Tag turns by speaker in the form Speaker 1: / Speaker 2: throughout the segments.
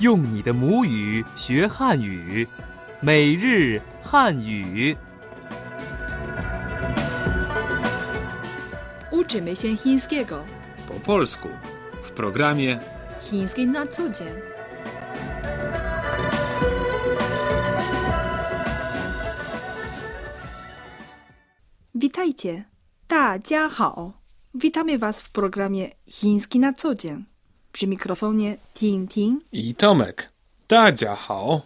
Speaker 1: 用你的母语学汉语，每日汉语。
Speaker 2: Uczymy się chińskiego.
Speaker 3: po polsku w programie
Speaker 2: Chiński na co dzień. Witajcie. 大家好. Witamy Was w programie Chiński na co dzień. Przy mikrofonie Ting Ting.
Speaker 3: i Tomek. Dadzia hao.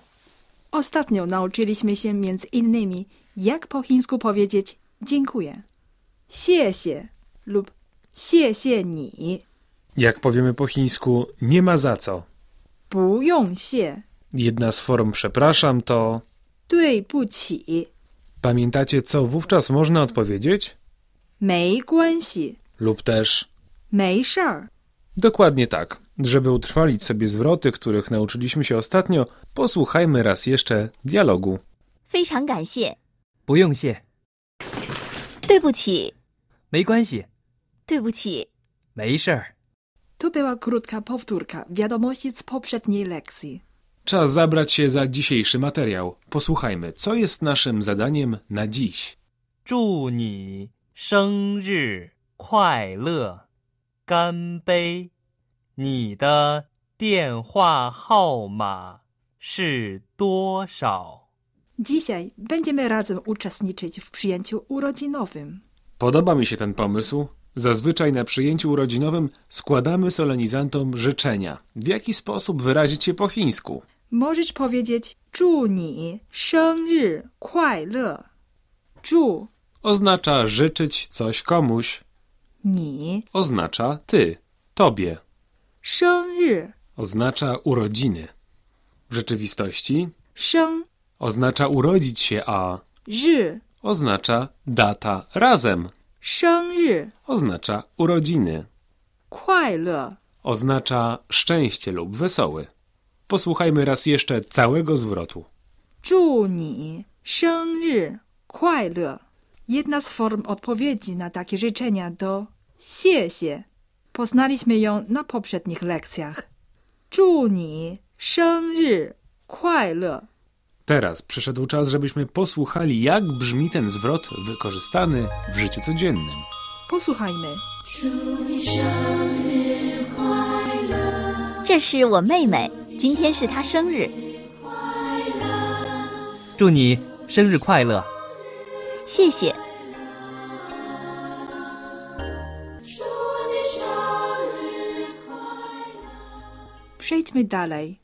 Speaker 2: Ostatnio nauczyliśmy się między innymi, jak po chińsku powiedzieć dziękuję. 谢谢 lub 谢谢你.
Speaker 3: Jak powiemy po chińsku, nie ma za co.
Speaker 2: 不用谢，
Speaker 3: Jedna z form przepraszam to
Speaker 2: 对不起，
Speaker 3: pamiętacie co wówczas można odpowiedzieć?
Speaker 2: 没关系，
Speaker 3: Lub też
Speaker 2: 没事儿。
Speaker 3: dokładnie tak. Żeby utrwalić sobie zwroty, których nauczyliśmy się ostatnio, posłuchajmy raz jeszcze dialogu.
Speaker 4: 非常感谢，
Speaker 1: 不用谢，
Speaker 4: 对不起，
Speaker 1: 没关系，
Speaker 4: 对不起，
Speaker 1: 没事儿。
Speaker 2: To była krótka powtórka wiadomości z poprzedniej lekcji.
Speaker 3: Czas zabrać się za dzisiejszy materiał. Posłuchajmy, co jest naszym zadaniem na dziś.
Speaker 1: 祝你生日快乐！干杯！你的电话号码是多少？
Speaker 2: Dzisiaj będziemy razem uczestniczyć w przyjęciu urodzinowym.
Speaker 3: Podoba mi się ten pomysł. Zazwyczaj na przyjęciu urodzinowym składamy solenizantom życzenia. W jaki sposób wyrazić się po chińsku?
Speaker 2: Możesz powiedzieć 祝你生日快乐。祝
Speaker 3: Oznacza życzyć coś komuś.
Speaker 2: 你
Speaker 3: Oznacza ty, tobie.
Speaker 2: 生日
Speaker 3: Oznacza urodziny. W rzeczywistości
Speaker 2: 生
Speaker 3: oznacza urodzić się, a
Speaker 2: 日
Speaker 3: oznacza data razem.
Speaker 2: 生日
Speaker 3: Oznacza urodziny.
Speaker 2: 快乐
Speaker 3: Oznacza szczęście lub wesoły. Posłuchajmy raz jeszcze całego zwrotu.
Speaker 2: 祝你生日快乐。Jedna z form odpowiedzi na takie życzenia to 谢谢. Poznaliśmy ją na poprzednich lekcjach. 祝你生日快乐.
Speaker 3: Teraz przyszedł czas, żebyśmy posłuchali, jak brzmi ten zwrot wykorzystany w życiu codziennym.
Speaker 2: Posłuchajmy.
Speaker 4: 这是我妹妹，今天是她生日，
Speaker 1: 祝你生日快乐！
Speaker 4: 谢谢，
Speaker 2: Przejdźmy dalej.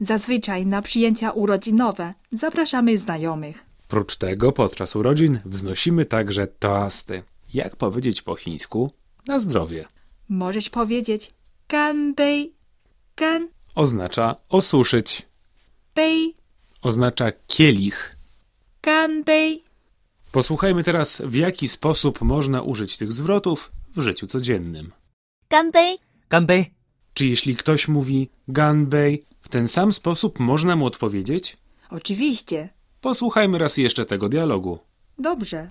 Speaker 2: Zazwyczaj na przyjęcia urodzinowe zapraszamy znajomych.
Speaker 3: Prócz tego, podczas urodzin wznosimy także toasty. Jak powiedzieć po chińsku? Na zdrowie.
Speaker 2: Możesz powiedzieć 干杯,干
Speaker 3: Oznacza osuszyć.
Speaker 2: 杯,
Speaker 3: Oznacza kielich.
Speaker 2: 干杯.
Speaker 3: Posłuchajmy teraz, w jaki sposób można użyć tych zwrotów w życiu codziennym.
Speaker 4: 干杯，
Speaker 1: 干杯！
Speaker 3: Czy jeśli ktoś mówi ganbei, w ten sam sposób można mu odpowiedzieć?
Speaker 2: Oczywiście.
Speaker 3: Posłuchajmy raz jeszcze tego dialogu.
Speaker 2: Dobrze.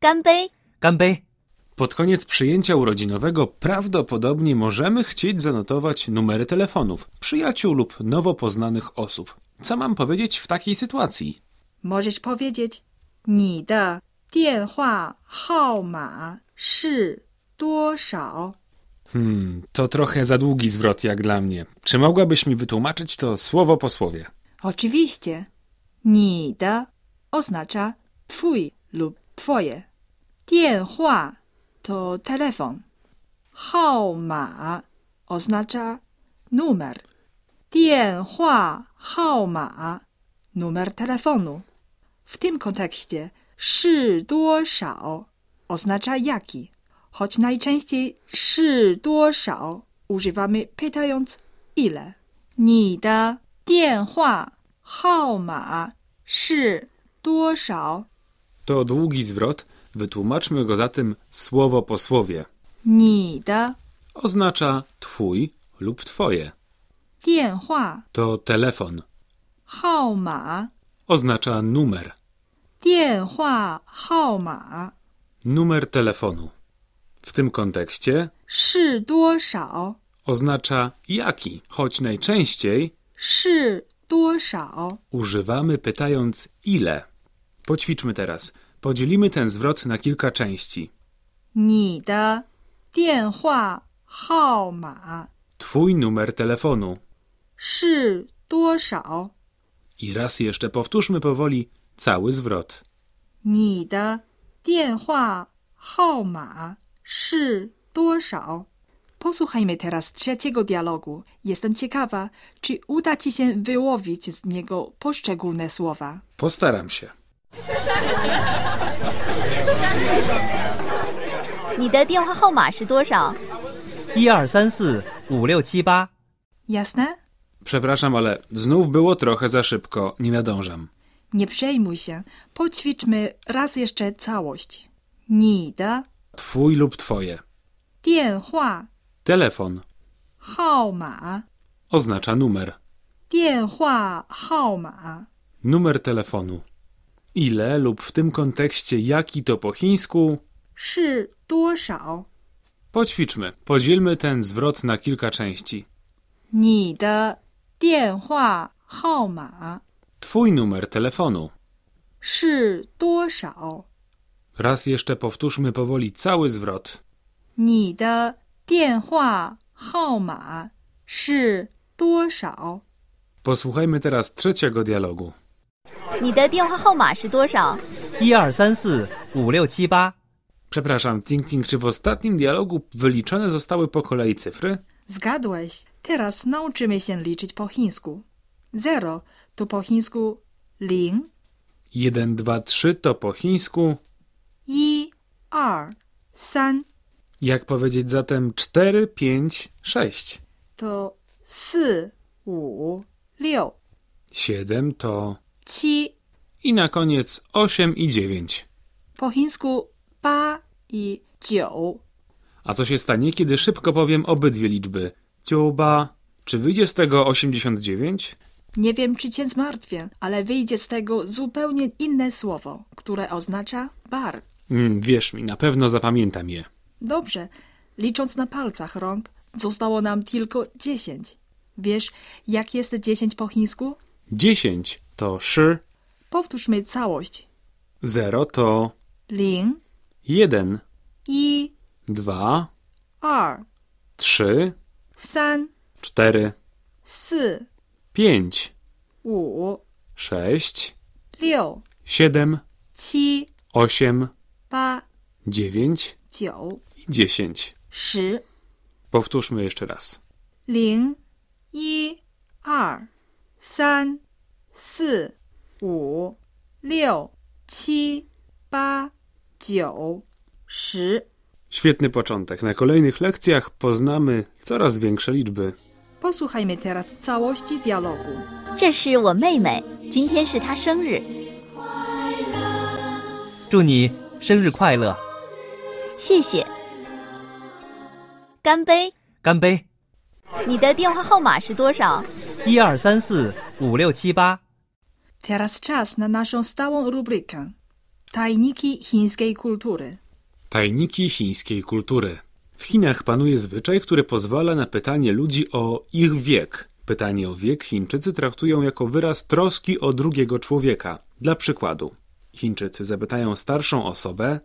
Speaker 4: 干杯，
Speaker 1: 干杯！
Speaker 3: Pod koniec przyjęcia urodzinowego prawdopodobnie możemy chcieć zanotować numery telefonów przyjaciół lub nowo poznanych osób. Co mam powiedzieć w takiej sytuacji?
Speaker 2: Możesz powiedzieć 你的电话号码是多少？
Speaker 3: Hmm, to trochę za długi zwrot jak dla mnie. Czy mogłabyś mi wytłumaczyć to słowo po słowie?
Speaker 2: Oczywiście. 你的 oznacza twój lub twoje. 电话 to telefon. 号码 oznacza numer. 电话号码 numer telefonu. W tym kontekście 是多少 oznacza jaki, choć najczęściej 是多少 używamy pytając ile. 你的电话号码是多少？
Speaker 3: To długi zwrot, wytłumaczmy go zatem słowo po słowie.
Speaker 2: 你的
Speaker 3: Oznacza twój lub twoje.
Speaker 2: 电话
Speaker 3: To telefon.
Speaker 2: 号码，
Speaker 3: Oznacza numer.
Speaker 2: 电话号码
Speaker 3: Numer telefonu. W tym kontekście
Speaker 2: 是多少？
Speaker 3: oznacza jaki, choć najczęściej
Speaker 2: 是多少？
Speaker 3: Używamy pytając ile. Poćwiczmy teraz. Podzielimy ten zwrot na kilka części.
Speaker 2: 你的电话号码
Speaker 3: Twój numer telefonu.
Speaker 2: 是多少？
Speaker 3: I raz jeszcze powtórzmy powoli cały zwrot.
Speaker 2: 你的电话号码是多少？Posłuchajmy teraz trzeciego dialogu. Jestem ciekawa, czy uda ci się wyłowić z niego poszczególne słowa.
Speaker 3: Postaram się.
Speaker 4: 你的电话号码是多少？
Speaker 1: 一二三四五六七八。
Speaker 2: Jasne?
Speaker 3: Przepraszam, ale znów było trochę za szybko. Nie nadążam.
Speaker 2: Nie przejmuj się. Poćwiczmy raz jeszcze całość. 你的
Speaker 3: Twój lub twoje.
Speaker 2: 电话
Speaker 3: Telefon
Speaker 2: 号码，
Speaker 3: oznacza numer.
Speaker 2: 电话号码
Speaker 3: Numer telefonu. Ile lub w tym kontekście jaki to po chińsku?
Speaker 2: 是多少？
Speaker 3: Poćwiczmy. Podzielmy ten zwrot na kilka części.
Speaker 2: 你的电话号码
Speaker 3: Twój numer telefonu.
Speaker 2: 是多少？
Speaker 3: Raz jeszcze powtórzmy powoli cały zwrot.
Speaker 2: 你的电话号码是多少？
Speaker 3: Posłuchajmy teraz trzeciego dialogu.
Speaker 4: 你的电话号码是多少？
Speaker 1: 一二三四五六七八。
Speaker 3: Przepraszam, Ting Ting, czy w ostatnim dialogu wyliczone zostały po kolei cyfry?
Speaker 2: Zgadłeś. Teraz nauczymy się liczyć po chińsku. Zero to po chińsku ling,
Speaker 3: 1, 2, 3 to po chińsku.
Speaker 2: i, r, san
Speaker 3: Jak powiedzieć zatem 4, 5, 6?
Speaker 2: to si, wu, liu,
Speaker 3: 7 to...
Speaker 2: ci.
Speaker 3: I na koniec 8 i 9.
Speaker 2: Po chińsku ba i dziu.
Speaker 3: A co się stanie, kiedy szybko powiem obydwie liczby? Ciuba, czy wyjdzie z tego 89?
Speaker 2: Nie wiem, czy cię zmartwię, ale wyjdzie z tego zupełnie inne słowo, które oznacza bar.
Speaker 3: Mm, wierz mi, na pewno zapamiętam je.
Speaker 2: Dobrze, licząc na palcach rąk, zostało nam tylko 10. Wiesz, jak jest 10 po chińsku?
Speaker 3: 10 to 3,
Speaker 2: Powtórzmy całość.
Speaker 3: 0 to
Speaker 2: Ling,
Speaker 3: 1,
Speaker 2: i,
Speaker 3: 2,
Speaker 2: er,
Speaker 3: 3,
Speaker 2: san,
Speaker 3: 4,
Speaker 2: si,
Speaker 3: 5,
Speaker 2: wu,
Speaker 3: 6,
Speaker 2: liu,
Speaker 3: 7,
Speaker 2: ci,
Speaker 3: 8,
Speaker 2: ba,
Speaker 3: 9
Speaker 2: dziu,
Speaker 3: i 10.
Speaker 2: shi.
Speaker 3: Powtórzmy jeszcze raz.
Speaker 2: 零、一、二、三、四、五、六、七、八、九、十。
Speaker 3: Świetny początek. Na kolejnych lekcjach poznamy coraz większe liczby.
Speaker 2: Posłuchajmy teraz całości dialogu.
Speaker 4: 这是我妹妹，今天是她生日，
Speaker 1: 祝你生日快乐，
Speaker 4: 谢谢。干杯！
Speaker 1: 干杯！
Speaker 4: 你的电话号码是多少？
Speaker 1: 一二三四五六七八。
Speaker 2: Teraz czas na naszą stałą rubrykę. Tajniki chińskiej kultury.
Speaker 3: Tajniki chińskiej kultury. W Chinach panuje zwyczaj, który pozwala na pytanie ludzi o ich wiek. Pytanie o wiek Chińczycy traktują jako wyraz troski o drugiego człowieka. Dla przykładu, Chińczycy zapytają starszą osobę,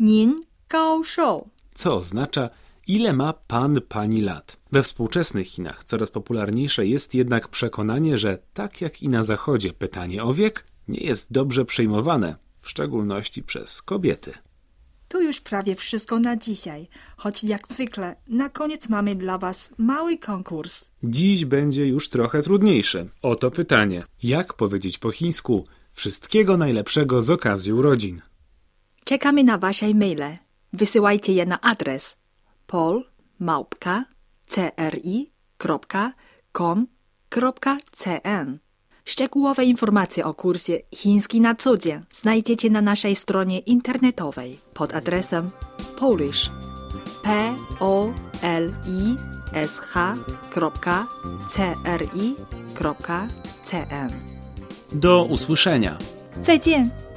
Speaker 2: Nin Gao Shou.
Speaker 3: co oznacza ile ma pan pani lat. We współczesnych Chinach coraz popularniejsze jest jednak przekonanie, że tak jak i na zachodzie pytanie o wiek nie jest dobrze przyjmowane, w szczególności przez kobiety.
Speaker 2: To już prawie wszystko na dzisiaj, choć jak zwykle na koniec mamy dla Was mały konkurs.
Speaker 3: Dziś będzie już trochę trudniejsze. Oto pytanie: jak powiedzieć po chińsku wszystkiego najlepszego z okazji urodzin?
Speaker 2: Czekamy na Wasze maile. Wysyłajcie je na adres polmałpka.cri.com.cn. Szczegółowe informacje o kursie Chiński na cudzie znajdziecie na naszej stronie internetowej pod adresem polish p o l i s h c r i c n.
Speaker 3: Do usłyszenia!
Speaker 2: 再见。